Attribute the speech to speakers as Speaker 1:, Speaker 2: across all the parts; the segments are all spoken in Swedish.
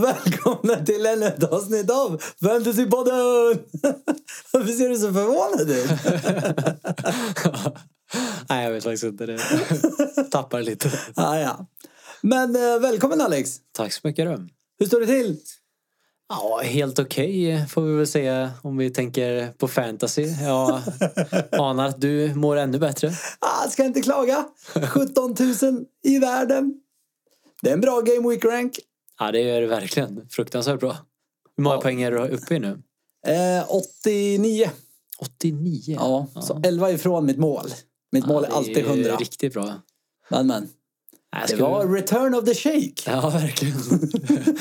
Speaker 1: välkomna till ännu ett avsnitt av Fantasypodden! Varför ser du så förvånad ut?
Speaker 2: Nej, jag vet faktiskt inte. Det tappar lite.
Speaker 1: Ah, ja. Men eh, välkommen Alex!
Speaker 2: Tack så mycket då.
Speaker 1: Hur står det till?
Speaker 2: Ja, helt okej får vi väl säga om vi tänker på fantasy. Jag anar att du mår ännu bättre.
Speaker 1: Ah, ska inte klaga! 17 000 i världen. Det är en bra game week rank.
Speaker 2: Ja, det gör det verkligen. Fruktansvärt bra. Hur många
Speaker 1: Ja.
Speaker 2: poäng är du uppe i nu?
Speaker 1: Eh, 89.
Speaker 2: 89.
Speaker 1: Ja, så 11 ifrån mitt mål. Mitt mål är alltid 100.
Speaker 2: Riktigt bra.
Speaker 1: Men, men.
Speaker 2: Nej,
Speaker 1: Det
Speaker 2: ska
Speaker 1: var
Speaker 2: vi-
Speaker 1: return of the shake.
Speaker 2: Ja, verkligen.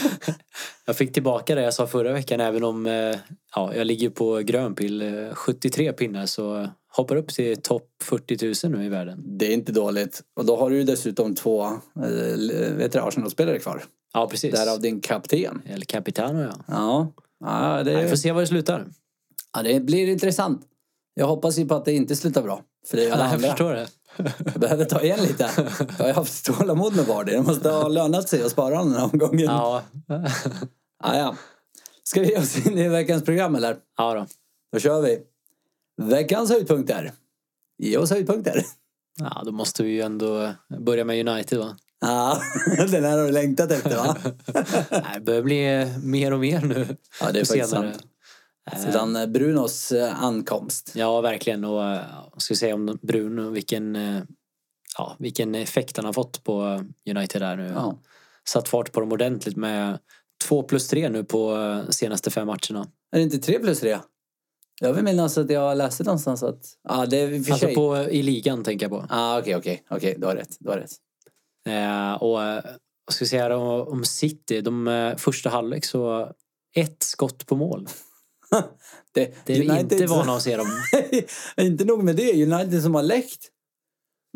Speaker 2: jag fick tillbaka det jag sa förra veckan även om eh, ja, jag ligger på grönpill eh, 73 pinnar så hoppar upp till topp 40 000 nu i världen.
Speaker 1: Det är inte dåligt. Och då har du ju dessutom två eh, vet du, Arsenal-spelare kvar.
Speaker 2: Ja, precis.
Speaker 1: Därav din kapten.
Speaker 2: El Capitano, ja.
Speaker 1: Ja, ja,
Speaker 2: Vi får
Speaker 1: det,
Speaker 2: se var det slutar.
Speaker 1: ja, det blir intressant. Jag hoppas ju på att det inte slutar bra. För det Mm. är ju alla
Speaker 2: Nej, jag
Speaker 1: andra.
Speaker 2: förstår det.
Speaker 1: Jag behöver ta igen lite. Jag har ju haft tålamod med Vardy. Det måste ha lönat sig att spara honom den här omgången. Ja.
Speaker 2: Ja,
Speaker 1: Ja, Ska vi ge oss in i veckans program eller?
Speaker 2: ja då.
Speaker 1: Då kör vi. Veckans höjdpunkter. Ge oss höjdpunkter.
Speaker 2: Ja, då måste vi ju ändå börja med United va?
Speaker 1: Ja, den här har du längtat efter va?
Speaker 2: Nej, det börjar bli eh, mer och mer nu.
Speaker 1: Ja, det är
Speaker 2: på
Speaker 1: faktiskt
Speaker 2: senare.
Speaker 1: sant. Sedan eh, Brunos eh, ankomst.
Speaker 2: Ja, verkligen. Och eh, jag ska säga om Bruno, vilken, eh, ja, vilken effekt han har fått på eh, United där nu.
Speaker 1: Ja.
Speaker 2: Satt fart på dem ordentligt med 2 plus 3 nu på eh, senaste fem matcherna.
Speaker 1: Är det inte tre plus tre? Jag vill minnas att jag läste någonstans att... Ja, det är i och för
Speaker 2: Alltså
Speaker 1: sig.
Speaker 2: på, i ligan tänker jag på.
Speaker 1: Ah, okej, okej, okej. Du har rätt. Du har rätt.
Speaker 2: Eh, och eh, vad ska jag säga om, om City, de eh, första halvlek så ett skott på mål.
Speaker 1: Det,
Speaker 2: Det är vi inte vana att se dem.
Speaker 1: inte nog med det, United som har läckt.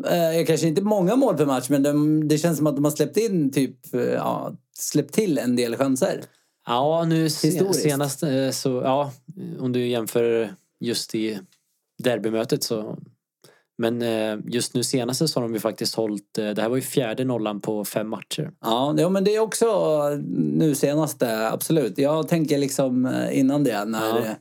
Speaker 1: Eh, kanske inte många mål per match, men de, det känns som att de har släppt in typ... eh, Ja, släppt till en del chanser.
Speaker 2: Ja, nu sen,
Speaker 1: Historiskt.
Speaker 2: senast eh, så, ja, om du jämför just i derbymötet så. Men eh, just nu senaste så har de ju faktiskt hållit, eh, det här var ju fjärde nollan på fem matcher.
Speaker 1: Ja, ja, men det är också nu senaste, absolut. Jag tänker liksom eh, innan det, när
Speaker 2: Ja.
Speaker 1: eh,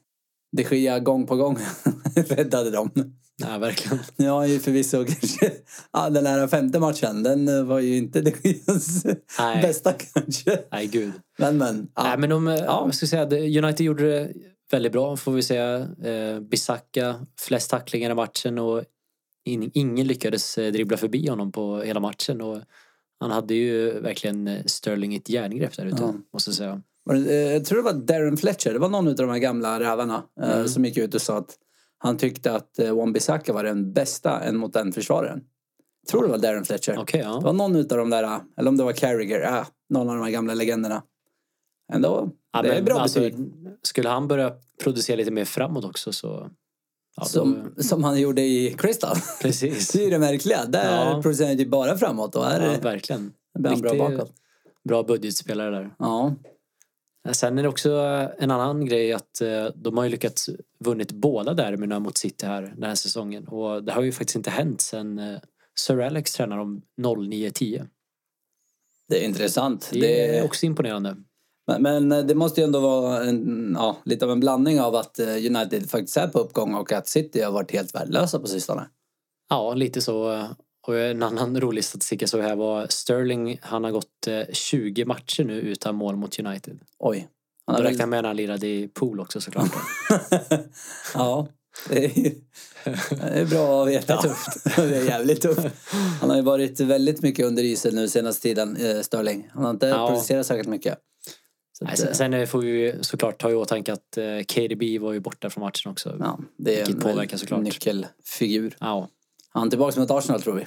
Speaker 1: det sker gång på gång räddade dem.
Speaker 2: Ja, verkligen.
Speaker 1: Nu har han ju förvisso kanske... Ja, den här femte matchen, den eh, var ju inte det Geas
Speaker 2: Nej.
Speaker 1: bästa kanske.
Speaker 2: Nej, gud.
Speaker 1: Men men. Ja.
Speaker 2: Nej, men de, eh, jag ska säga, det- United gjorde det väldigt bra får vi säga. Eh, Bissaka, flest tacklingar i matchen och in, ingen lyckades eh, dribbla förbi honom på hela matchen. Och han hade ju verkligen eh, Sterling i ett järngrepp där ute,
Speaker 1: Ja.
Speaker 2: måste jag säga.
Speaker 1: Var det, eh, Jag tror det var Darren Fletcher, det var någon av de här gamla rävarna eh,
Speaker 2: Mm.
Speaker 1: som gick ut och sa att han tyckte att eh, Wan-Bissaka var den bästa en mot en försvararen. Jag tror det var Darren Fletcher.
Speaker 2: Okej,
Speaker 1: Det
Speaker 2: ja.
Speaker 1: var någon av de där, eh, eller om det var Carragher, ja, någon av de här gamla legenderna. Ändå,
Speaker 2: ja
Speaker 1: det är
Speaker 2: men
Speaker 1: bra
Speaker 2: alltså,
Speaker 1: betyg.
Speaker 2: Skulle han börja producera lite mer framåt också så... Ja, då,
Speaker 1: Som, som han gjorde i Crystal.
Speaker 2: precis.
Speaker 1: Det är ju det märkliga. Där
Speaker 2: Ja.
Speaker 1: producerar han ju bara framåt och här
Speaker 2: Ja,
Speaker 1: eh,
Speaker 2: verkligen.
Speaker 1: blir han bra
Speaker 2: Riktig-
Speaker 1: bakåt.
Speaker 2: Bra budgetspelare där.
Speaker 1: Ja,
Speaker 2: Sen är det också eh, en annan grej att eh, de har ju lyckats vunnit båda derbyna mot City här den här säsongen. Och det har ju faktiskt inte hänt sen eh, Sir Alex tränar dem 09-10.
Speaker 1: det är intressant.
Speaker 2: Det,
Speaker 1: Det
Speaker 2: är också imponerande.
Speaker 1: men, men det måste ju ändå vara en, ja, lite av en blandning av att eh, United faktiskt är på uppgång och att City har varit helt värdelösa på sistone.
Speaker 2: Ja, lite så. eh, Och en annan rolig statistik jag såg här var Sterling, han har gått eh, 20 matcher nu utan mål mot United.
Speaker 1: Oj. Han
Speaker 2: Då
Speaker 1: har väl-
Speaker 2: räknar jag med när han lirade i pool också såklart.
Speaker 1: ja, det är, det är bra att veta. Det är tufft. det är jävligt tufft. Han har ju varit väldigt mycket under isen nu senaste tiden, eh, Sterling. Han har inte
Speaker 2: Ja.
Speaker 1: producerat särskilt mycket. Så
Speaker 2: Nej,
Speaker 1: att,
Speaker 2: sen,
Speaker 1: eh,
Speaker 2: sen får vi ju såklart ta i åtanke att eh, KDB var ju borta från matchen också.
Speaker 1: ja, det är
Speaker 2: vilket
Speaker 1: en
Speaker 2: påverkar
Speaker 1: väldigt
Speaker 2: såklart.
Speaker 1: nyckelfigur.
Speaker 2: Ja.
Speaker 1: Han är tillbaka mot Arsenal tror vi.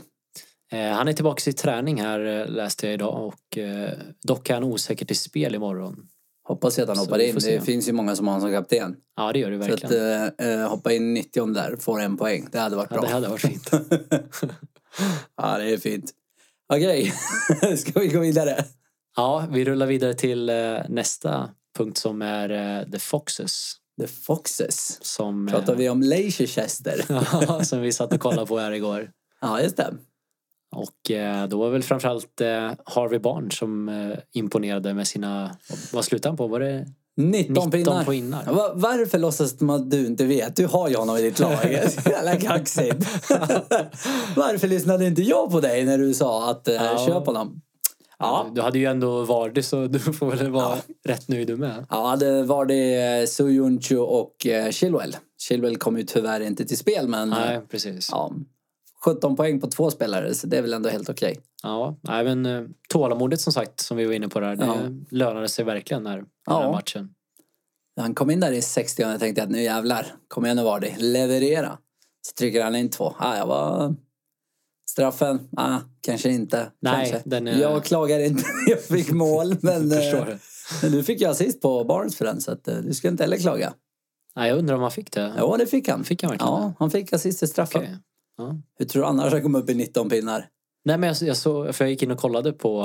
Speaker 2: Eh, Han är tillbaka i träning här eh, läste jag idag och eh, dock är han osäker till spel imorgon.
Speaker 1: Hoppas att han
Speaker 2: Så
Speaker 1: hoppar
Speaker 2: vi
Speaker 1: in.
Speaker 2: får
Speaker 1: Det
Speaker 2: se.
Speaker 1: finns ju många som har honom som kapten.
Speaker 2: Ja det gör det
Speaker 1: Så att
Speaker 2: verkligen.
Speaker 1: eh, eh, hoppa in 90 där, får en poäng. Det hade varit
Speaker 2: Ja,
Speaker 1: bra.
Speaker 2: det hade varit fint.
Speaker 1: Ja, det är fint. Okej, ska vi gå vidare?
Speaker 2: Ja, vi rullar vidare till eh, nästa punkt som är eh, The Foxes.
Speaker 1: The Foxes.
Speaker 2: Som, eh,
Speaker 1: Pratar vi om Leicester?
Speaker 2: som vi satt och kollade på här igår.
Speaker 1: Ja, just det.
Speaker 2: Och eh, då var väl framförallt eh, Harvey Barnes som eh, imponerade med sina, vad slutade han på? Var det
Speaker 1: 19,
Speaker 2: 19
Speaker 1: pinnar.
Speaker 2: pinnar.
Speaker 1: Va- varför låtsas man att du inte vet? Du har ju honom i ditt lag. Jävla kaxigt. varför lyssnade inte jag på dig när du sa att eh,
Speaker 2: Ja.
Speaker 1: köp honom? Ja.
Speaker 2: Du hade ju ändå Vardy så du får väl vara rätt nöjd du med.
Speaker 1: Ja, det var det eh, Sojuncu och eh, Chilwell. Chilwell kom ju tyvärr inte till spel, men eh,
Speaker 2: Nej, precis. Ja,
Speaker 1: ja, 17 poäng på två spelare, så det är väl ändå helt okej.
Speaker 2: nej, men eh, tålamodet som sagt som vi var inne på där, det
Speaker 1: Ja. lönade
Speaker 2: lönade sig verkligen när, den
Speaker 1: Ja.
Speaker 2: här matchen.
Speaker 1: När han kom in där i 60 och jag tänkte att nu jävlar, kom igen nu Vardy, leverera. Så trycker han in två. Ah, jag var... Straffen? Ah, kanske inte.
Speaker 2: Nej,
Speaker 1: kanske.
Speaker 2: den är-
Speaker 1: Jag klagar inte, jag fick mål. Men
Speaker 2: Jag förstår
Speaker 1: eh,
Speaker 2: det.
Speaker 1: men nu fick jag assist på Barnes för den, så att, eh, du ska inte heller klaga.
Speaker 2: Nej, jag undrar om han fick det.
Speaker 1: Ja, det fick han.
Speaker 2: Fick han verkligen
Speaker 1: Ja, han fick assist till straffen.
Speaker 2: Okej. Ja.
Speaker 1: Hur tror du annars han kom upp i 19 pinnar?
Speaker 2: Nej men jag, jag, såg, för jag gick in och kollade på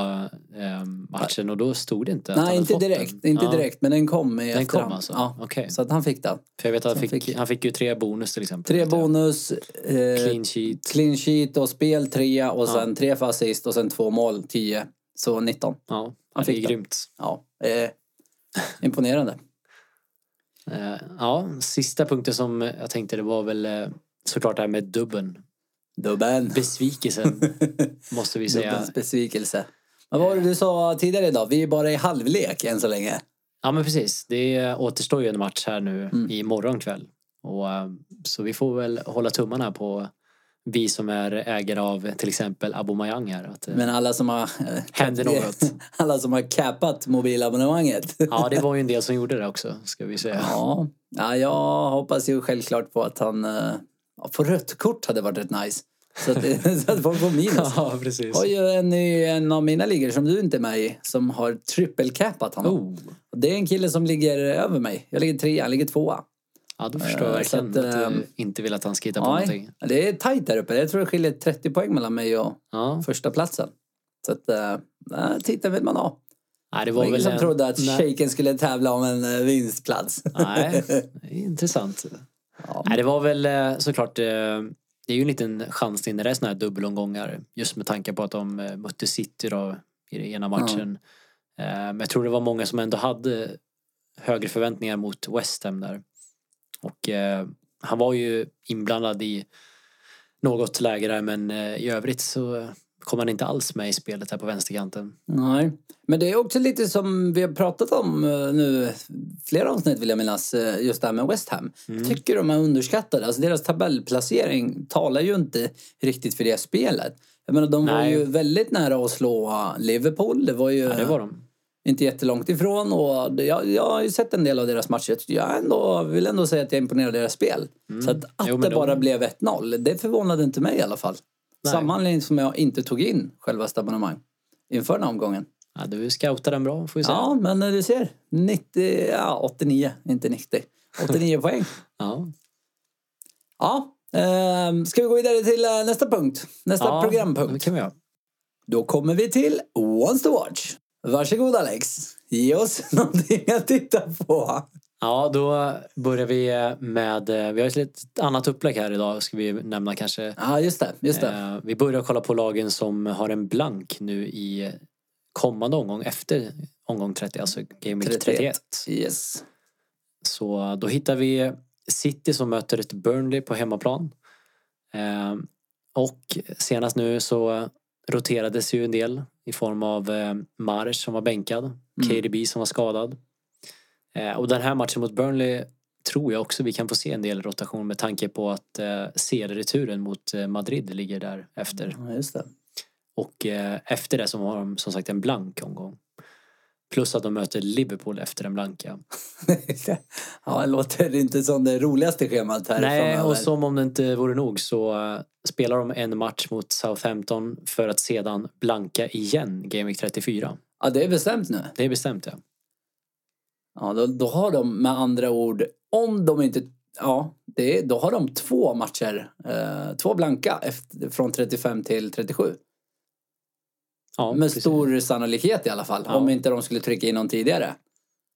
Speaker 2: eh, matchen och då stod det inte att han
Speaker 1: Nej,
Speaker 2: hade
Speaker 1: inte
Speaker 2: fått den.
Speaker 1: direkt. Inte
Speaker 2: Ja,
Speaker 1: direkt, men den kom i
Speaker 2: Den
Speaker 1: efterhand.
Speaker 2: kom alltså?
Speaker 1: Ja.
Speaker 2: Okej.
Speaker 1: Så att han fick den.
Speaker 2: För jag vet att han
Speaker 1: Sen fick-
Speaker 2: fick, han fick ju tre bonus till exempel.
Speaker 1: Tre
Speaker 2: vet jag.
Speaker 1: bonus. Eh,
Speaker 2: Clean sheet.
Speaker 1: clean sheet och spel trea och
Speaker 2: Ja.
Speaker 1: sen tre för assist och sen två mål, tio. Så 19.
Speaker 2: Ja,
Speaker 1: Han
Speaker 2: det
Speaker 1: fick
Speaker 2: är
Speaker 1: den.
Speaker 2: grymt.
Speaker 1: Ja, eh, imponerande.
Speaker 2: Eh, ja, sista punkten som jag tänkte det var väl eh, såklart det här med dubben.
Speaker 1: Dubben.
Speaker 2: Besvikelsen måste vi säga.
Speaker 1: Dubbens besvikelse. Men vad var det du sa tidigare idag? Vi är bara i halvlek än så länge.
Speaker 2: Ja men precis, det återstår ju en match här nu
Speaker 1: Mm.
Speaker 2: imorgon kväll. Och, eh, så vi får väl hålla tummarna på vi som är ägare av till exempel Abomayang här. Att, eh,
Speaker 1: Men alla som har... eh,
Speaker 2: Händer något.
Speaker 1: Alla som har cappat mobilabonnemanget.
Speaker 2: Ja, det var ju en del som gjorde det också, ska vi säga.
Speaker 1: Ja. ja, jag hoppas ju självklart på att han... eh, ja, Få rött kort hade varit rätt nice. Så att, så att folk får minus.
Speaker 2: Ja, precis.
Speaker 1: har ju en, i en av mina ligor som du inte är med i som har trippelcappat honom.
Speaker 2: Oh.
Speaker 1: Det är en kille som ligger över mig. Jag ligger trea, han ligger tvåa.
Speaker 2: Ja, då förstår jag
Speaker 1: Eh,
Speaker 2: verkligen
Speaker 1: så att,
Speaker 2: att,
Speaker 1: ehm,
Speaker 2: du inte vill att han ska hitta på
Speaker 1: Nej,
Speaker 2: någonting.
Speaker 1: det är tajt där uppe. Jag tror det skiljer 30 poäng mellan mig och
Speaker 2: Ja.
Speaker 1: första platsen. Så att, eh, nej, titeln vill man ha.
Speaker 2: Nej,
Speaker 1: Det
Speaker 2: det
Speaker 1: var
Speaker 2: var
Speaker 1: ingen
Speaker 2: väl
Speaker 1: som
Speaker 2: en-
Speaker 1: trodde att
Speaker 2: Nej.
Speaker 1: shejken skulle tävla om en eh, vinstplats.
Speaker 2: Nej, det är intressant.
Speaker 1: Ja.
Speaker 2: Nej, det var väl eh, såklart, eh, det är ju en liten chansning när det är såna här dubbelomgångar. Just med tanke på att de eh, mötte City då, i den ena matchen. Eh, Men jag tror det var många som ändå hade högre förväntningar mot West Ham där. Och eh, han var ju inblandad i något läge där men eh, i övrigt så kom han inte alls med i spelet här på vänsterkanten.
Speaker 1: Nej, men det är också lite som vi har pratat om eh, nu, flera avsnitt vill jag minnas, eh, just det här med West Ham.
Speaker 2: Mm.
Speaker 1: Jag tycker de är underskattade. Alltså deras tabellplacering talar ju inte riktigt för det spelet. Jag menar, de var
Speaker 2: Nej.
Speaker 1: ju väldigt nära att slå eh, Liverpool. Det var ju
Speaker 2: Ja, det var de.
Speaker 1: inte jättelångt ifrån. Och det- jag, jag har ju sett en del av deras matcher. Jag är ändå, vill ändå säga att jag är imponerad av deras spel. Så att, att
Speaker 2: Mm. Jo, men
Speaker 1: det
Speaker 2: de-
Speaker 1: bara blev 1-0, det förvånade inte mig i alla fall.
Speaker 2: Nej.
Speaker 1: Samma anledning som jag inte tog in själva abonnemang inför den här omgången.
Speaker 2: Ja, du scoutar den bra får vi säga.
Speaker 1: Ja, men du ser. 90, ja, 89, inte 90. 89 poäng.
Speaker 2: Ja.
Speaker 1: Ja, ehm, ska vi gå vidare till eh, nästa punkt? Nästa
Speaker 2: Ja,
Speaker 1: programpunkt.
Speaker 2: det kan vi göra.
Speaker 1: Då kommer vi till Once to watch. Varsågod Alex. Ge oss någonting att titta på.
Speaker 2: Ja, då börjar vi med, eh, vi har ett lite annat upplägg här idag ska vi nämna kanske.
Speaker 1: Ja, just det. Just det.
Speaker 2: Eh, Vi börjar kolla på lagen som har en blank nu i kommande omgång efter omgång 30, alltså Game Week
Speaker 1: 31.
Speaker 2: 31.
Speaker 1: Eh, Yes.
Speaker 2: Så då hittar vi City som möter ett Burnley på hemmaplan. Eh, Och senast nu så roterades ju en del i form av eh, Mars som var bänkad, KDB som var skadad. Eh, Och den här matchen mot Burnley tror jag också vi kan få se en del rotation med tanke på att eh, seriereturen mot eh, Madrid ligger där efter.
Speaker 1: Ja, just det.
Speaker 2: Och eh, efter det så har de som sagt en blank omgång. Plus att de möter Liverpool efter den blanka.
Speaker 1: ja, det låter inte som det roligaste schemat här
Speaker 2: Nej,
Speaker 1: framöver.
Speaker 2: och som om det inte vore nog så eh, spelar de en match mot Southampton för att sedan blanka igen Game Week 34.
Speaker 1: Ja, det är bestämt nu.
Speaker 2: Det är bestämt ja.
Speaker 1: Ja, då, då har de med andra ord, om de inte... Ja, det, är- då har de två matcher, eh, två blanka efter, från 35 till 37.
Speaker 2: ja
Speaker 1: med
Speaker 2: precis.
Speaker 1: stor sannolikhet i alla fall,
Speaker 2: Ja.
Speaker 1: om inte de skulle trycka in någon tidigare.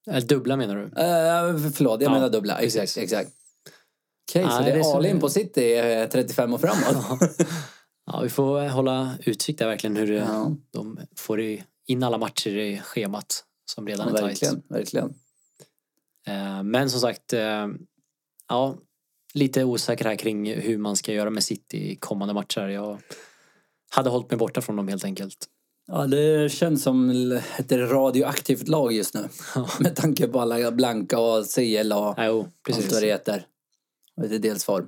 Speaker 2: Eller dubbla menar du?
Speaker 1: Eh, förlåt, jag
Speaker 2: Ja,
Speaker 1: menar dubbla.
Speaker 2: precis.
Speaker 1: Exakt, exakt. Okej, så
Speaker 2: Nej,
Speaker 1: det
Speaker 2: det är
Speaker 1: är
Speaker 2: så
Speaker 1: all in
Speaker 2: det-
Speaker 1: på City eh, 35 och framåt.
Speaker 2: Ja, vi får hålla utkik där verkligen hur eh,
Speaker 1: Ja,
Speaker 2: de får i- in alla matcher i schemat som redan
Speaker 1: ja,
Speaker 2: är tajt.
Speaker 1: verkligen. verkligen.
Speaker 2: Eh, Men som sagt, eh, ja, lite osäker här kring hur man ska göra med City i kommande matcher. Jag hade hållit mig borta från dem helt enkelt.
Speaker 1: Ja, det känns som l- ett radioaktivt lag just nu.
Speaker 2: Ja.
Speaker 1: Med tanke på alla blanka och CLA.
Speaker 2: Ja, Äh, Jo,
Speaker 1: Precis. Allt vad
Speaker 2: precis.
Speaker 1: det heter. Och lite delsvar.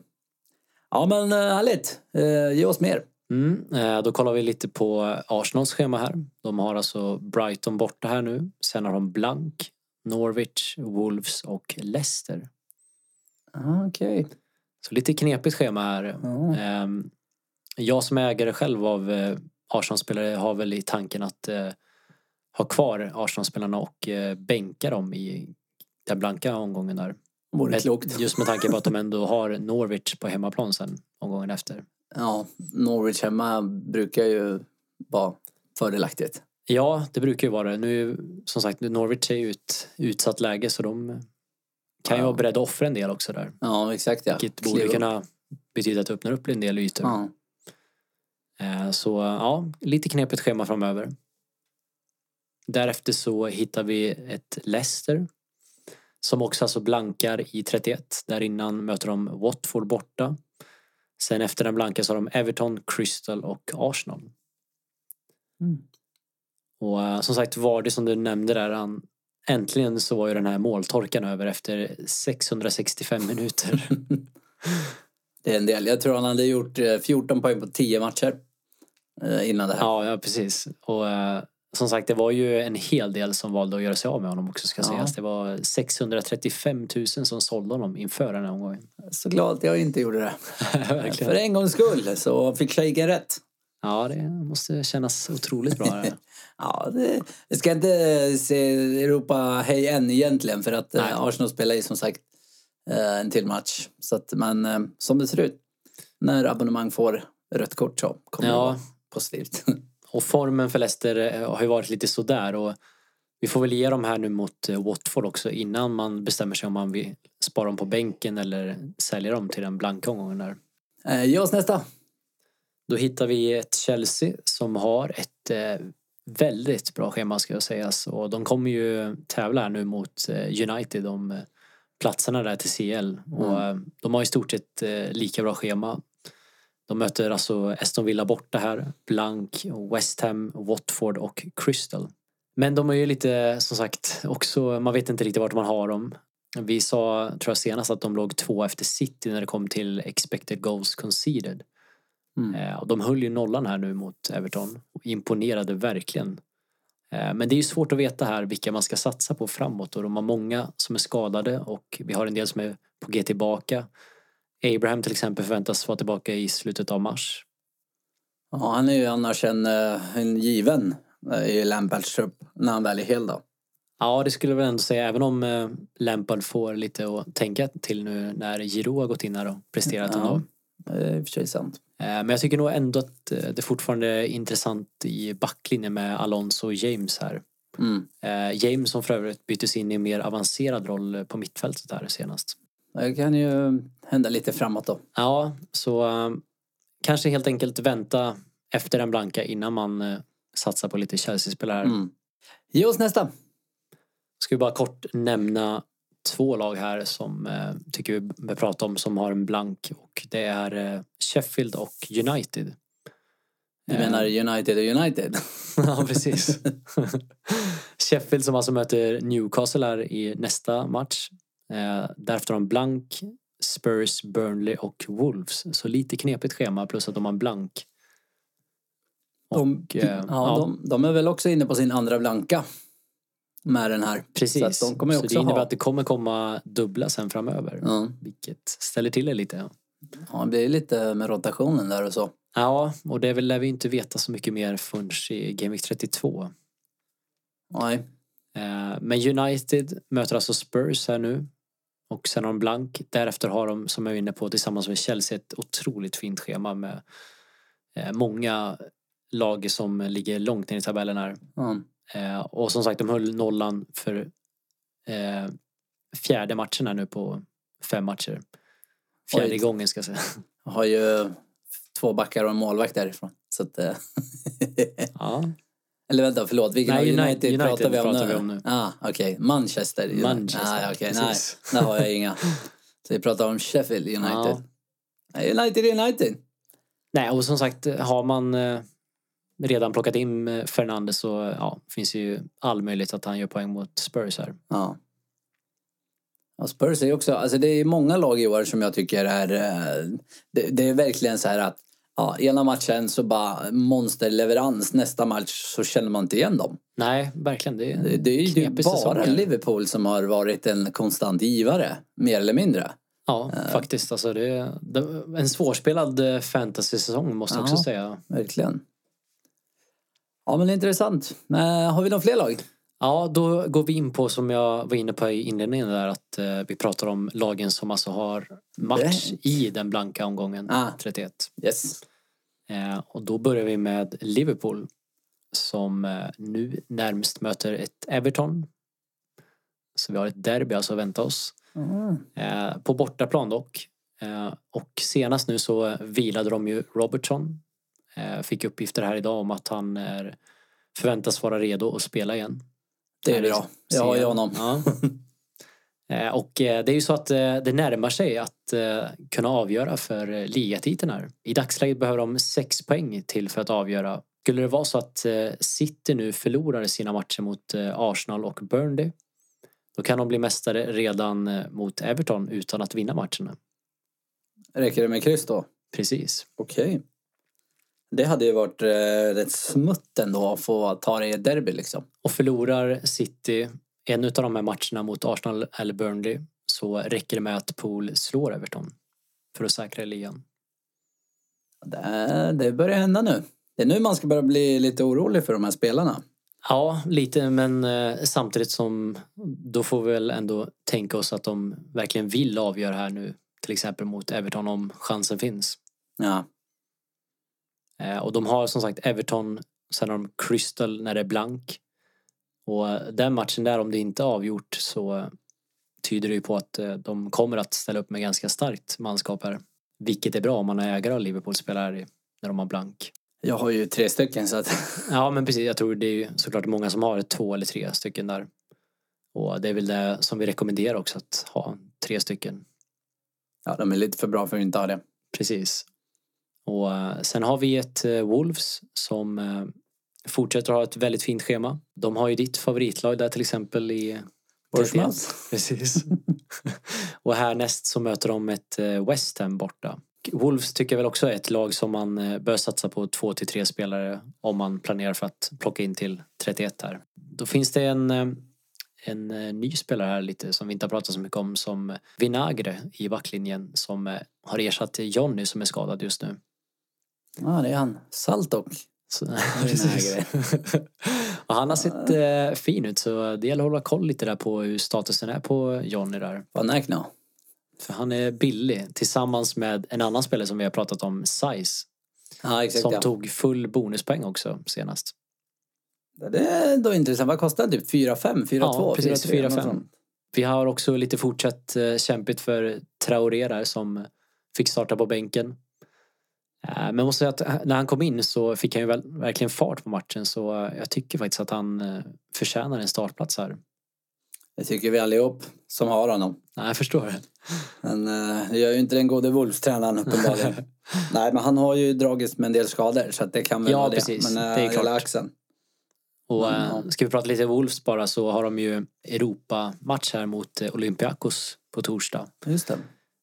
Speaker 1: Ja, men eh, härligt. Eh, Ge oss mer.
Speaker 2: Mm, eh, då kollar vi lite på Arsenals schema här. De har alltså Brighton borta här nu. Sen har de blank, Norwich, Wolves och Leicester.
Speaker 1: Ah, Okej.
Speaker 2: Så lite knepigt schema här.
Speaker 1: Ja.
Speaker 2: Ehm, Jag som är ägare själv av eh, Arsenal-spelare har väl i tanken att eh, ha kvar Arsenal-spelarna och eh, bänka dem i den blanka omgången där.
Speaker 1: Vore
Speaker 2: Med-
Speaker 1: klokt.
Speaker 2: Just med tanke på att de ändå har Norwich på hemmaplan sen omgången efter.
Speaker 1: Ja, Norwich hemma brukar ju vara fördelaktigt.
Speaker 2: Ja, det brukar ju vara det. Nu, som sagt, nu Norwich är ju ett utsatt läge så de kan ju
Speaker 1: Ja.
Speaker 2: vara beredda att offra en del också där.
Speaker 1: Ja, exakt ja.
Speaker 2: Vilket
Speaker 1: Kliva
Speaker 2: borde
Speaker 1: upp.
Speaker 2: kunna betyda att det öppnar upp en del ytor.
Speaker 1: Ja.
Speaker 2: Eh, Så ja, lite knepigt schema framöver. Därefter så hittar vi ett Leicester som också alltså blankar i 31. Där innan möter de Watford borta. Sen efter den blanka så har de Everton, Crystal och Arsenal.
Speaker 1: Mm.
Speaker 2: Och eh, som sagt var det som du nämnde där, han, äntligen så var ju den här måltorkan över efter 665 minuter.
Speaker 1: Det är en del. Jag tror han hade gjort eh, 14 poäng på 10 matcher eh, innan det här.
Speaker 2: ja, ja, precis. Och eh, som sagt, det var ju en hel del som valde att göra sig av med honom också ska
Speaker 1: Ja.
Speaker 2: sägas. Det var 635 000 som sålde honom inför den här omgången.
Speaker 1: Så glad att jag inte gjorde det. För
Speaker 2: Verkligen.
Speaker 1: en gångs skull så fick shaken rätt.
Speaker 2: Ja, det måste kännas otroligt bra. det här.
Speaker 1: Ja, det, det ska inte se Europa hej än egentligen för att eh,
Speaker 2: Nej.
Speaker 1: Arsenal spelar ju som sagt eh, en till match. Så att, men eh, som det ser ut, när abonnemang får rött kort så kommer det
Speaker 2: Ja.
Speaker 1: vara positivt.
Speaker 2: Och formen för Leicester eh, har ju varit lite sådär. Och vi får väl ge dem här nu mot eh, Watford också innan man bestämmer sig om man vill spara dem på bänken eller sälja dem till den blanka omgången där.
Speaker 1: Eh, Ge oss nästa.
Speaker 2: Då hittar vi ett Chelsea som har ett eh, väldigt bra schema ska jag säga. Och de kommer ju tävla här nu mot eh, United om eh, platserna där till CL. Och eh, de har i stort sett eh, lika bra schema. De möter alltså Aston Villa borta här, Blank, West Ham, Watford och Crystal. Men de är ju lite, som sagt, också, man vet inte riktigt vart man har dem. Vi sa, tror jag senast, att de låg två efter City när det kom till expected goals conceded.
Speaker 1: Mm.
Speaker 2: Eh, Och de höll ju nollan här nu mot Everton och imponerade verkligen. Eh, Men det är ju svårt att veta här vilka man ska satsa på framåt och de har många som är skadade och vi har en del som är på G tillbaka. Abraham till exempel förväntas vara tillbaka i slutet av mars.
Speaker 1: Ja, han är ju annars en, eh, en given eh, i Lampards trupp när han väl är hel då.
Speaker 2: Ja, det skulle jag väl ändå säga, även om eh, Lampard får lite att tänka till nu när Giroud har gått in här och presterat
Speaker 1: Ja.
Speaker 2: ändå.
Speaker 1: Det är i och för sig sant.
Speaker 2: Eh, Men jag tycker nog ändå att eh, det fortfarande är intressant i backlinjen med Alonso och James här.
Speaker 1: Mm.
Speaker 2: Eh, James som för övrigt byttes in i en mer avancerad roll eh, på mittfältet där senast.
Speaker 1: Det kan ju hända lite framåt då.
Speaker 2: Ja, så eh, kanske helt enkelt vänta efter den blanka innan man eh, satsar på lite Chelsea-spelare. här.
Speaker 1: Mm. Ge oss nästa.
Speaker 2: Ska vi bara kort nämna två lag här som eh, tycker vi bör prata om som har en blank och det är eh, Sheffield och United.
Speaker 1: Du
Speaker 2: Eh,
Speaker 1: menar United och United?
Speaker 2: Ja, precis. Sheffield som alltså möter Newcastle här i nästa match. Eh, därefter har de blank, Spurs, Burnley och Wolves. Så lite knepigt schema plus att de har en blank.
Speaker 1: De,
Speaker 2: Och, eh,
Speaker 1: ja,
Speaker 2: ja.
Speaker 1: De, de är väl också inne på sin andra blanka med den här.
Speaker 2: Precis.
Speaker 1: Så att de kommer ju
Speaker 2: så det
Speaker 1: också
Speaker 2: innebär
Speaker 1: ha-
Speaker 2: att det kommer komma dubbla sen framöver.
Speaker 1: Ja,
Speaker 2: Vilket ställer till det lite.
Speaker 1: ja, det blir lite med rotationen där och så.
Speaker 2: Ja, och det lär vi inte veta så mycket mer förrän i Game Week 32.
Speaker 1: Nej.
Speaker 2: Eh, Men United möter alltså Spurs här nu. Och sen har de blank. Därefter har de, som jag var inne på, tillsammans med Chelsea ett otroligt fint schema med eh, många lag som ligger långt ner i tabellen här.
Speaker 1: Ja.
Speaker 2: Eh, Och som sagt, de höll nollan för eh, fjärde matchen här nu på fem matcher. Fjärde
Speaker 1: Oj.
Speaker 2: gången ska jag säga.
Speaker 1: Har ju två backar och en målvakt därifrån. Så att, eh,
Speaker 2: Ja.
Speaker 1: eller vänta, förlåt. Vilken
Speaker 2: Nej,
Speaker 1: av United,
Speaker 2: United- United
Speaker 1: pratar vi om
Speaker 2: pratar
Speaker 1: nu?
Speaker 2: vi om nu.
Speaker 1: Ah, Okej, Manchester. United.
Speaker 2: Manchester,
Speaker 1: Ah, okej, nej,
Speaker 2: precis.
Speaker 1: där har jag inga. Så vi pratar om Sheffield United.
Speaker 2: Ja.
Speaker 1: Nej, United är United.
Speaker 2: Nej, och som sagt, har man eh, redan plockat in eh, Fernandes så eh, ja, finns det ju all möjlighet att han gör poäng mot Spurs här.
Speaker 1: Ja. Och Spurs är ju också, alltså det är många lag i år som jag tycker är, eh, det, det är verkligen så här att ja, ena matchen så bara monsterleverans, nästa match så känner man inte igen dem.
Speaker 2: Nej, verkligen. Det är,
Speaker 1: Det, det är ju typ
Speaker 2: Knepig
Speaker 1: bara
Speaker 2: säsong här.
Speaker 1: Liverpool som har varit en konstant givare, mer eller mindre.
Speaker 2: ja, faktiskt. Alltså, det är, det är en svårspelad eh, fantasy-säsong måste jag
Speaker 1: Ja.
Speaker 2: också säga.
Speaker 1: Verkligen. Ja men intressant. Eh, har vi några fler lag?
Speaker 2: Ja, då går vi in på som jag var inne på i inledningen där att eh, vi pratar om lagen som alltså har match i den blanka omgången
Speaker 1: Ah.
Speaker 2: 31.
Speaker 1: Yes.
Speaker 2: Eh, och då börjar vi med Liverpool som eh, nu närmst möter ett Everton. Så vi har ett derby alltså att vänta oss.
Speaker 1: Mm.
Speaker 2: Eh, på bortaplan dock. Eh, och senast nu så vilade de ju Robertson. Eh, fick uppgifter här idag om att han är, förväntas vara redo att spela igen.
Speaker 1: Det är bra. Jag har ju honom.
Speaker 2: Ja. Eh, Och eh, det är ju så att eh, det närmar sig att eh, kunna avgöra för eh, ligatiteln här. I dagsläget behöver de sex poäng till för att avgöra. Skulle det vara så att eh, City nu förlorar sina matcher mot eh, Arsenal och Burnley då kan de bli mästare redan eh, mot Everton utan att vinna matcherna.
Speaker 1: Räcker det med kryss då?
Speaker 2: Precis.
Speaker 1: Okej. Det hade ju varit eh, rätt smutt ändå att få ta det i ett derby liksom.
Speaker 2: Och förlorar City en av de här matcherna mot Arsenal eller Burnley så räcker det med att Pool slår Everton för att säkra ligan.
Speaker 1: Det, det börjar hända nu. Det är nu man ska börja bli lite orolig för de här spelarna.
Speaker 2: Ja, lite men eh, samtidigt som då får vi väl ändå tänka oss att de verkligen vill avgöra här nu. Till exempel mot Everton om chansen finns.
Speaker 1: Ja,
Speaker 2: Eh, och de har som sagt Everton, sen har de Crystal när det är blank. Och eh, den matchen där, om det inte är avgjort så eh, tyder det ju på att eh, de kommer att ställa upp med ganska starkt manskap här. Vilket är bra om man är ägare av Liverpool-spelare i- när de har blank.
Speaker 1: jag har ju tre stycken så att...
Speaker 2: Ja men precis, jag tror det är ju såklart många som har två eller tre stycken där. Och det är väl det som vi rekommenderar också att ha tre stycken.
Speaker 1: Ja, de är lite för bra för att inte ha det.
Speaker 2: Precis. Och eh, sen har vi ett eh, Wolves som eh, fortsätter att ha ett väldigt fint schema. De har ju ditt favoritlag där till exempel i 31.
Speaker 1: Bournemouth.
Speaker 2: Precis. och härnäst så möter de ett eh, West Ham borta. Wolves tycker jag väl också är ett lag som man eh, bör satsa på två till tre spelare om man planerar för att plocka in till 31 här. Då finns det en, eh, en eh, ny spelare här lite som vi inte har pratat så mycket om som Vinagre i backlinjen som eh, har ersatt Jonny som är skadad just nu.
Speaker 1: Ja, det är han. Saltok.
Speaker 2: Så,
Speaker 1: Precis.
Speaker 2: och han har sett eh, fin ut så det gäller att hålla koll lite där på hur statusen är på Jonny där.
Speaker 1: Van Ackno.
Speaker 2: För han är billig tillsammans med en annan spelare som vi har pratat om, Size.
Speaker 1: Ja, exakt.
Speaker 2: som
Speaker 1: ja.
Speaker 2: tog full bonuspoäng också senast.
Speaker 1: Det är ändå intressant. Vad kostar den? Typ 4-5? 4-2?
Speaker 2: Ja, precis.
Speaker 1: 4-3, något
Speaker 2: 4-5.
Speaker 1: sånt.
Speaker 2: Vi har också lite fortsatt eh, kämpigt för Traoré där som fick starta på bänken. Eh, Men jag måste säga att eh, när han kom in så fick han ju väl, verkligen fart på matchen så eh, jag tycker faktiskt att han eh, förtjänar en startplats här.
Speaker 1: Det tycker vi allihop som har honom.
Speaker 2: Nej, jag förstår.
Speaker 1: Men eh, det gör ju inte den gode Wolves-tränaren uppenbarligen. Nej, men han har ju dragits med en del skador så att det kan väl
Speaker 2: Ja,
Speaker 1: vara det.
Speaker 2: precis.
Speaker 1: Men eh,
Speaker 2: Det är klart.
Speaker 1: hela axeln.
Speaker 2: Och
Speaker 1: Mm,
Speaker 2: eh, ska vi prata lite Wolves bara så har de ju Europa-match här mot eh, Olympiakos på torsdag.
Speaker 1: Just det.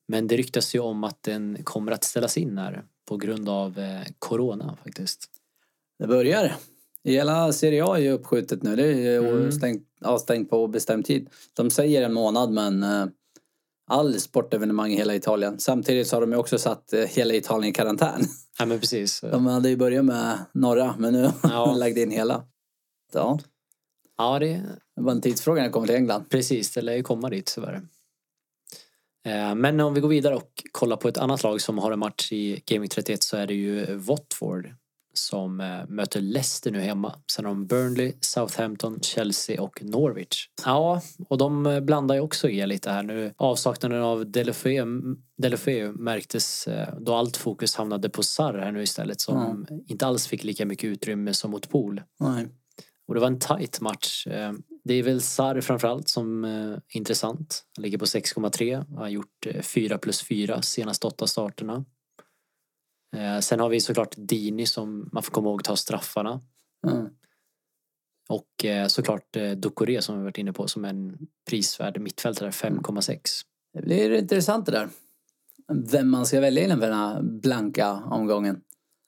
Speaker 2: Men det ryktas ju om att den kommer att ställas in här på grund av eh, corona faktiskt.
Speaker 1: Det börjar. Hela Serie A är ju uppskjutet nu. Det är ju
Speaker 2: Mm.
Speaker 1: stängt, avstängt på obestämd tid. De säger en månad, men eh, all sportevenemang i hela Italien. Samtidigt så har de ju också satt eh, hela Italien i karantän.
Speaker 2: Ja men precis.
Speaker 1: De hade ju börjat med norra, men nu har de
Speaker 2: Ja.
Speaker 1: lagt in hela. Ja,
Speaker 2: Ja, det,
Speaker 1: det var en tidsfråga när jag kommer till England.
Speaker 2: precis. Det lär ju komma dit tyvärr. Eh, Men om vi går vidare och kollar på ett annat lag som har en match i Gaming 31 så är det ju Watford som eh, möter Leicester nu hemma. Sen har de Burnley, Southampton, Chelsea och Norwich. Ja, och de eh, blandar ju också er lite här nu. Avsaknaden av Delofeu- Delofeu märktes eh, då allt fokus hamnade på Sarr här nu istället som inte alls fick lika mycket utrymme som mot Pool.
Speaker 1: Nej.
Speaker 2: Och det var en tight match. Eh, Det är väl Sarr framförallt som eh, är intressant. Han ligger på 6,3. Han har gjort eh, 4 plus 4 senaste åtta starterna. Eh, Sen har vi såklart Dini som man får komma ihåg tar straffarna.
Speaker 1: Mm.
Speaker 2: Och eh, såklart eh, Ducoré som vi varit inne på som en prisvärd mittfältare 5,6.
Speaker 1: Det blir intressant det där. Vem man ska välja inför den här blanka omgången.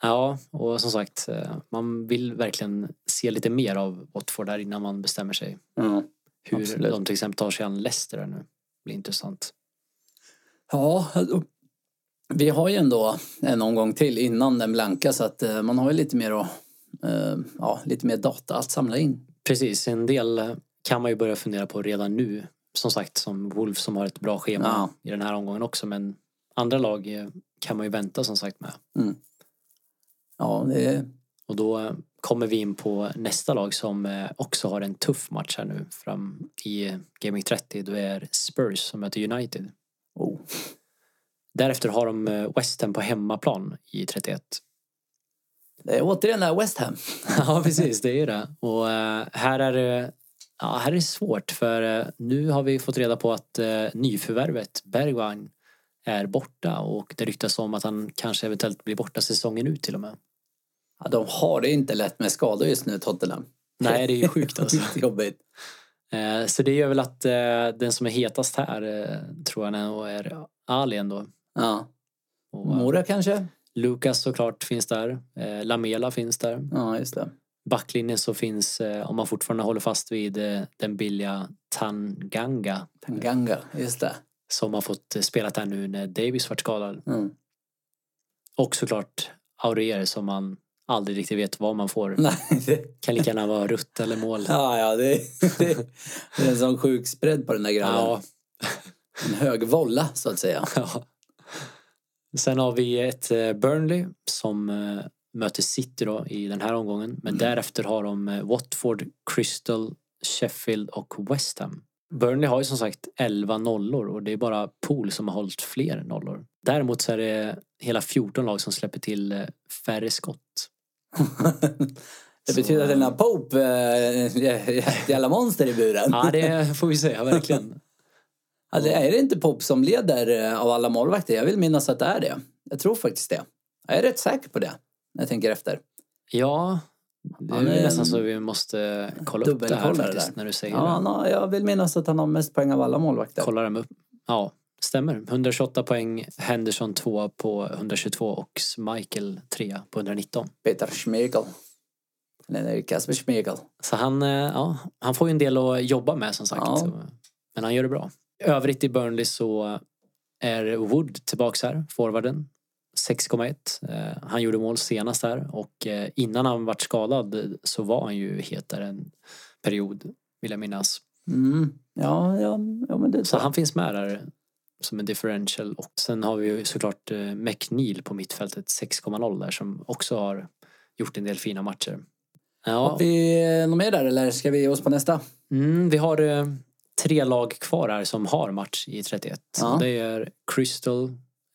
Speaker 2: Ja, och som sagt, eh, man vill verkligen se lite mer av Watford där innan man bestämmer sig.
Speaker 1: Mm.
Speaker 2: Hur
Speaker 1: Absolut.
Speaker 2: de till exempel tar sig an Leicester här nu. Det blir intressant.
Speaker 1: Ja, alltså, vi har ju ändå en omgång till innan den blanka så att eh, man har ju lite mer att, eh, ja, lite mer data att samla in.
Speaker 2: Precis, en del kan man ju börja fundera på redan nu. Som sagt, som Wolf som har ett bra schema
Speaker 1: Ja.
Speaker 2: i den här omgången också. Men andra lag eh, kan man ju vänta som sagt med.
Speaker 1: Ja, det är,
Speaker 2: Och då eh, kommer vi in på nästa lag som eh, också har en tuff match här nu fram i Gaming 30. Då är Spurs som möter United.
Speaker 1: oh,
Speaker 2: Därefter har de eh, West Ham på hemmaplan i 31.
Speaker 1: det är återigen det här West Ham.
Speaker 2: ja, precis. Det är ju det. Och eh, här är det ja, här är det svårt för eh, nu har vi fått reda på att eh, nyförvärvet Bergwijn är borta och det ryktas om att han kanske eventuellt blir borta säsongen ut till och med.
Speaker 1: Ja, de har det inte lätt med skador just nu, Tottenham.
Speaker 2: Nej, det är ju sjukt alltså.
Speaker 1: Riktigt jobbigt.
Speaker 2: Eh, Så det gör väl att eh, den som är hetast här eh, tror jag nog är Ali ändå.
Speaker 1: Ja.
Speaker 2: Och, eh,
Speaker 1: Mora kanske?
Speaker 2: Lucas såklart finns där. Eh, Lamela finns där.
Speaker 1: Ja, just det.
Speaker 2: Backlinjen så finns, eh, om man fortfarande håller fast vid eh, den billiga Tanganga
Speaker 1: Tanganga, just det.
Speaker 2: som har fått eh, spela där nu när Davis vart skadad.
Speaker 1: Mm.
Speaker 2: Och såklart Aurier som man aldrig riktigt vet vad man får.
Speaker 1: Nej, det,
Speaker 2: Kan lika gärna vara rutt eller mål.
Speaker 1: Mm. ja, ja, det, det, det är en sån sjuk spread på den där grabben.
Speaker 2: Ja,
Speaker 1: En hög volla, så att säga.
Speaker 2: Ja. Sen har vi ett eh, Burnley som eh, möter City då i den här omgången. Men
Speaker 1: Mm.
Speaker 2: därefter har de eh, Watford, Crystal, Sheffield och West Ham. Burnley har ju som sagt 11 nollor och det är bara Pool som har hållit fler nollor. Däremot så är det hela 14 lag som släpper till eh, färre skott.
Speaker 1: Det
Speaker 2: Så-
Speaker 1: betyder att den här Pope eh, är ett jävla monster i buren.
Speaker 2: Ja, det får vi säga verkligen.
Speaker 1: Alltså, är det inte Pope som leder eh, av alla målvakter? Jag vill minnas att det är det. Jag tror faktiskt det. Jag är rätt säker på det. När jag tänker efter.
Speaker 2: Ja, det är
Speaker 1: Han är
Speaker 2: väl
Speaker 1: en
Speaker 2: nästan så vi måste kolla upp det här
Speaker 1: dubbelkollare
Speaker 2: faktiskt
Speaker 1: där.
Speaker 2: när du säger
Speaker 1: Ja,
Speaker 2: det.
Speaker 1: han har, jag vill minnas att han har mest poäng av alla målvakter.
Speaker 2: Kolla dem upp. Ja, stämmer. 128 poäng, Henderson 2 på 122 och Michael 3 på 119.
Speaker 1: Peter Schmeichel. Eller Kasper Schmeichel.
Speaker 2: Så han, eh, ja, han får ju en del att jobba med som sagt.
Speaker 1: Ja.
Speaker 2: Så, Men han gör det bra. I övrigt i Burnley så är Wood tillbaks här, forwarden. 6,1. Eh, Han gjorde mål senast här och eh, innan han vart skadad så var han ju hetare en period, vill jag minnas.
Speaker 1: Mm. Ja, ja, ja, men det
Speaker 2: Så han finns med där som en differential. Och sen har vi ju såklart eh, McNeil på mittfältet 6,0 där som också har gjort en del fina matcher. Ja,
Speaker 1: Har vi eh, något mer där eller ska vi ge oss på nästa?
Speaker 2: mm, vi har eh, tre lag kvar här som har match i 31.
Speaker 1: Ja.
Speaker 2: Och Det är Crystal,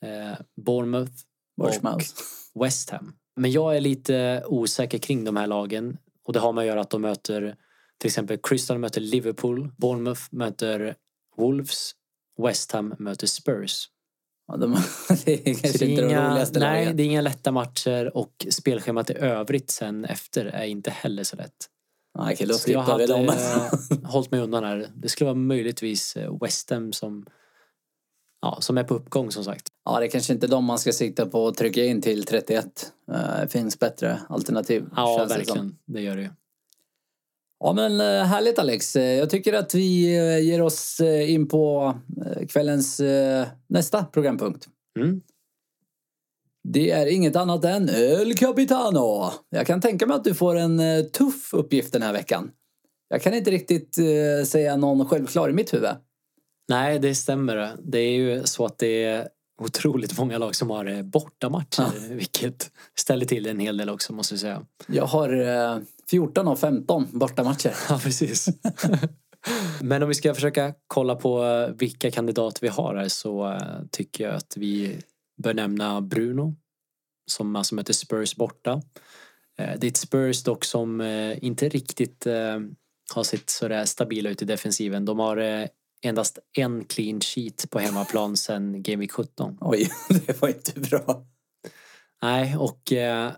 Speaker 2: eh, Bournemouth,
Speaker 1: Borsmaus.
Speaker 2: West Ham. Men jag är lite osäker kring de här lagen och det har med att göra att de möter till exempel Crystal möter Liverpool, Bournemouth möter Wolves, West Ham möter Spurs.
Speaker 1: Ja, de, det är
Speaker 2: Så
Speaker 1: kanske
Speaker 2: det
Speaker 1: inte
Speaker 2: är,
Speaker 1: de
Speaker 2: inga,
Speaker 1: roligaste
Speaker 2: nej,
Speaker 1: lagen.
Speaker 2: det är inga lätta matcher och spelschemat i övrigt sen efter är inte heller så lätt.
Speaker 1: Nej, okej, då
Speaker 2: Så jag
Speaker 1: skippar vi
Speaker 2: hade
Speaker 1: dem.
Speaker 2: eh, hållit mig undan här. Det skulle vara möjligtvis eh, West Ham som, ja, som är på uppgång som sagt.
Speaker 1: Ja, det är kanske inte de man ska sikta på att trycka in till 31. Eh, finns bättre alternativ.
Speaker 2: Ja,
Speaker 1: känns det som.
Speaker 2: verkligen. Det gör det ju.
Speaker 1: Ja, men eh, härligt Alex. Eh, Jag tycker att vi eh, ger oss eh, in på eh, kvällens eh, nästa programpunkt.
Speaker 2: Mm.
Speaker 1: Det är inget annat än El Capitano. Jag kan tänka mig att du får en eh, tuff uppgift den här veckan. Jag kan inte riktigt eh, säga någon självklar i mitt huvud.
Speaker 2: Nej, det stämmer. Det är ju så att det är otroligt många lag som har eh, bortamatcher. Vilket ställer till en hel del också måste jag säga.
Speaker 1: Jag har eh, 14 av 15 bortamatcher.
Speaker 2: Ja, precis. Men om vi ska försöka kolla på eh, vilka kandidater vi har här så eh, tycker jag att vi bör nämna Bruno som alltså möter Spurs borta. Eh, Det är ett Spurs dock som eh, inte riktigt eh, har sett sådär stabila ut i defensiven. De har eh, endast en clean sheet på hemmaplan sedan Game Week 17.
Speaker 1: Oj, det var inte bra.
Speaker 2: Nej, och eh,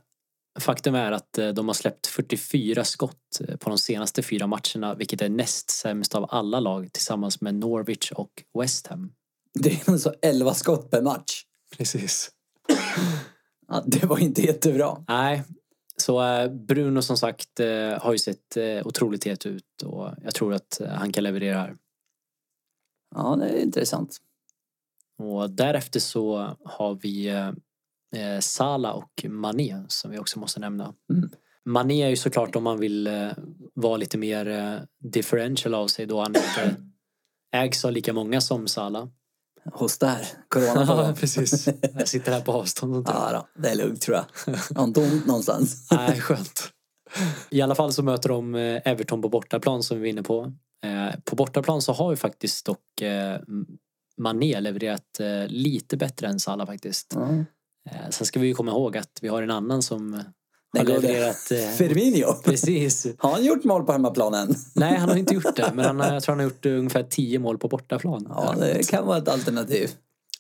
Speaker 2: faktum är att eh, de har släppt 44 skott eh, på de senaste fyra matcherna, vilket är näst sämst av alla lag tillsammans med Norwich och West Ham.
Speaker 1: Det är alltså 11 skott per match.
Speaker 2: Precis.
Speaker 1: Ja, det var inte jättebra.
Speaker 2: Nej, så eh, Bruno som sagt eh, har ju sett eh, otroligt het ut och jag tror att eh, han kan leverera här.
Speaker 1: Ja, det är intressant.
Speaker 2: Och därefter så har vi eh, Sala och Mané som vi också måste nämna.
Speaker 1: Mm.
Speaker 2: Mané är ju såklart om man vill eh, vara lite mer eh, differential av sig då han inte ägs av lika många som Sala.
Speaker 1: Hos där. Corona på gång.
Speaker 2: precis. Jag sitter här på avstånd. Och
Speaker 1: Ja, då, det är lugnt tror jag. Har inte ont någonstans.
Speaker 2: Nej, skönt. I alla fall så möter de eh, Everton på bortaplan som vi var inne på. Eh, På bortaplan så har ju faktiskt dock eh, Mané levererat eh, lite bättre än Salah faktiskt.
Speaker 1: Ja.
Speaker 2: Eh, Sen ska vi ju komma ihåg att vi har en annan som eh, har
Speaker 1: Den gode
Speaker 2: levererat... eh,
Speaker 1: Firmino.
Speaker 2: Precis.
Speaker 1: Har han gjort mål på hemmaplanen?
Speaker 2: Nej, han har inte gjort det. Men han, har- jag tror han har gjort eh, ungefär tio mål på bortaplan.
Speaker 1: Ja, det kan vara ett alternativ.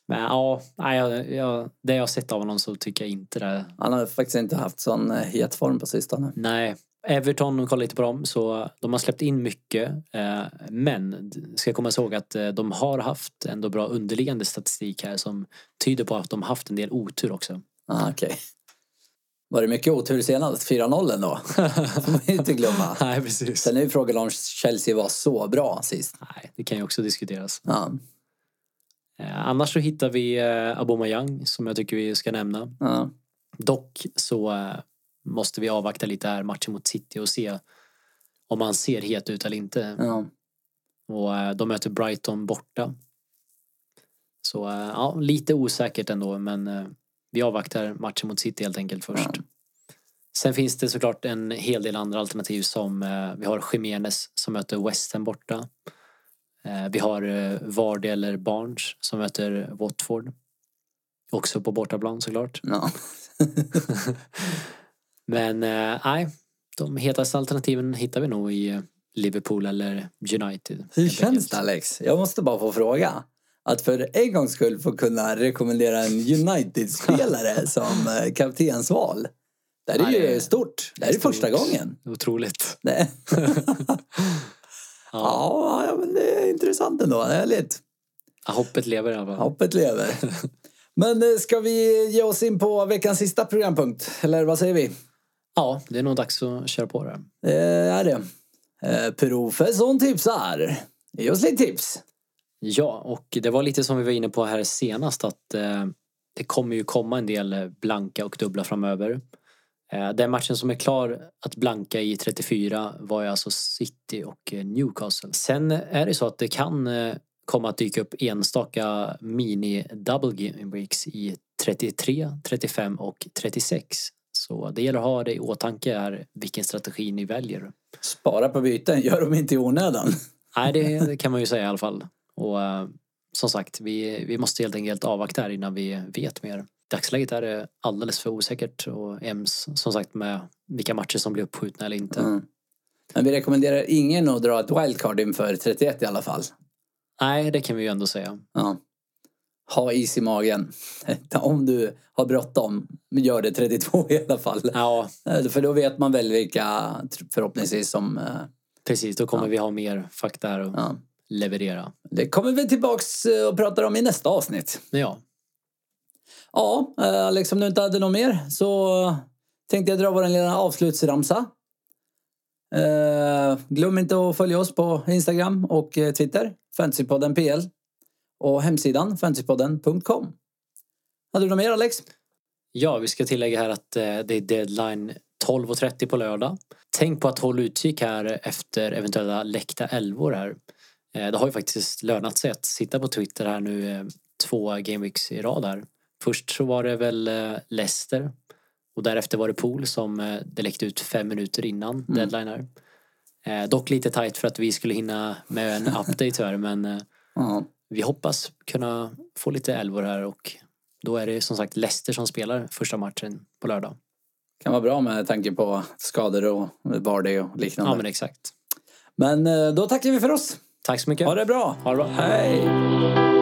Speaker 2: Men ja, nej, jag, jag, det jag har sett av honom så tycker jag inte det.
Speaker 1: Han har faktiskt inte haft sån eh, het form på sistone.
Speaker 2: Nej. Everton, om vi kollar lite på dem, så de har släppt in mycket. Eh, men ska komma ihåg att eh, de har haft ändå bra underliggande statistik här som tyder på att de haft en del otur också.
Speaker 1: Ah, okej. Var det mycket otur senast? 4-0 då? får man ju inte glömma.
Speaker 2: nej, precis.
Speaker 1: Sen är ju frågan om Chelsea var så bra sist.
Speaker 2: Nej, det kan ju också diskuteras.
Speaker 1: Ja,
Speaker 2: Eh, annars så hittar vi eh, Aubameyang som jag tycker vi ska nämna.
Speaker 1: ja.
Speaker 2: Dock så eh, måste vi avvakta lite här matchen mot City och se om han ser het ut eller inte.
Speaker 1: ja.
Speaker 2: Och eh, de möter Brighton borta. Så eh, ja, lite osäkert ändå men eh, vi avvaktar matchen mot City helt enkelt först.
Speaker 1: Ja.
Speaker 2: Sen finns det såklart en hel del andra alternativ som eh, vi har Jimenez som möter West Ham borta. Eh, vi har eh, Vardy eller Barnes som möter Watford. Också på bortaplan såklart.
Speaker 1: ja.
Speaker 2: Men eh, nej, de hetaste alternativen hittar vi nog i eh, Liverpool eller United.
Speaker 1: Hur
Speaker 2: helt
Speaker 1: känns
Speaker 2: enkelt.
Speaker 1: det Alex? Jag måste bara få fråga. Att för en gångs skull få kunna rekommendera en United-spelare som eh, kaptensval. Det här är
Speaker 2: Nej, det är-
Speaker 1: ju stort. Det här är
Speaker 2: stort.
Speaker 1: första gången.
Speaker 2: Otroligt.
Speaker 1: Det.
Speaker 2: Ja,
Speaker 1: Ja, ja, men det är intressant ändå. Härligt.
Speaker 2: Hoppet lever i alla fall.
Speaker 1: Hoppet lever. Men eh, ska vi ge oss in på veckans sista programpunkt? Eller vad säger vi?
Speaker 2: Ja, det är nog dags att köra på det.
Speaker 1: Det är det. Eh, Professorn tipsar. Ge oss lite tips.
Speaker 2: Ja, och det var lite som vi var inne på här senast att eh, det kommer ju komma en del eh, blanka och dubbla framöver. Eh, den matchen som är klar att blanka i 34 var ju alltså City och eh, Newcastle. Sen är det så att det kan eh, komma att dyka upp enstaka mini double game weeks i 33, 35 och 36. Så det gäller att ha det i åtanke här vilken strategi ni väljer.
Speaker 1: Spara på byten. Gör dem inte i onödan.
Speaker 2: Nej, det, det kan man ju säga i alla fall. Och eh, som sagt, vi, vi måste helt enkelt avvakta här innan vi vet mer. Dagsläget är det alldeles för osäkert och EMS som sagt med vilka matcher som blir uppskjutna eller inte.
Speaker 1: Mm. Men vi rekommenderar ingen att dra ett wildcard inför 31 i alla fall.
Speaker 2: Nej, det kan vi ju ändå säga.
Speaker 1: Ja. Ha is i magen. Om du har bråttom, gör det 32 i alla fall.
Speaker 2: Ja,
Speaker 1: Eh, För då vet man väl vilka tr- förhoppningsvis som... eh,
Speaker 2: precis. Då kommer vi ha mer fakta här att
Speaker 1: Ja.
Speaker 2: leverera.
Speaker 1: Det kommer vi tillbaks eh, och pratar om i nästa avsnitt.
Speaker 2: Men ja,
Speaker 1: Ja, eh, Alex, om du inte hade något mer så eh, tänkte jag dra vår lilla avslutsramsa. Eh, glöm inte att följa oss på Instagram och eh, Twitter, fantasypodden PL och hemsidan fantasypodden.com. Hade du något mer Alex?
Speaker 2: ja vi ska tillägga här att eh, det är deadline 12.30 på lördag. Tänk på att hålla utkik här efter eventuella läckta älvor här. Eh, Det har ju faktiskt lönat sig att sitta på Twitter här nu eh, två gameweeks i rad här. Först så var det väl eh, Leicester och därefter var det Pool som eh, det läckte ut fem minuter innan deadline här. Eh, dock lite tajt för att vi skulle hinna med en update här men eh,
Speaker 1: Ja.
Speaker 2: vi hoppas kunna få lite elvor här och då är det som sagt Leicester som spelar första matchen på lördag.
Speaker 1: Kan vara bra med tanke på skador och vardag och liknande.
Speaker 2: Ja men exakt.
Speaker 1: men eh, då tackar vi för oss.
Speaker 2: Tack så mycket.
Speaker 1: Ha det bra.
Speaker 2: Ha det bra.
Speaker 1: Hej!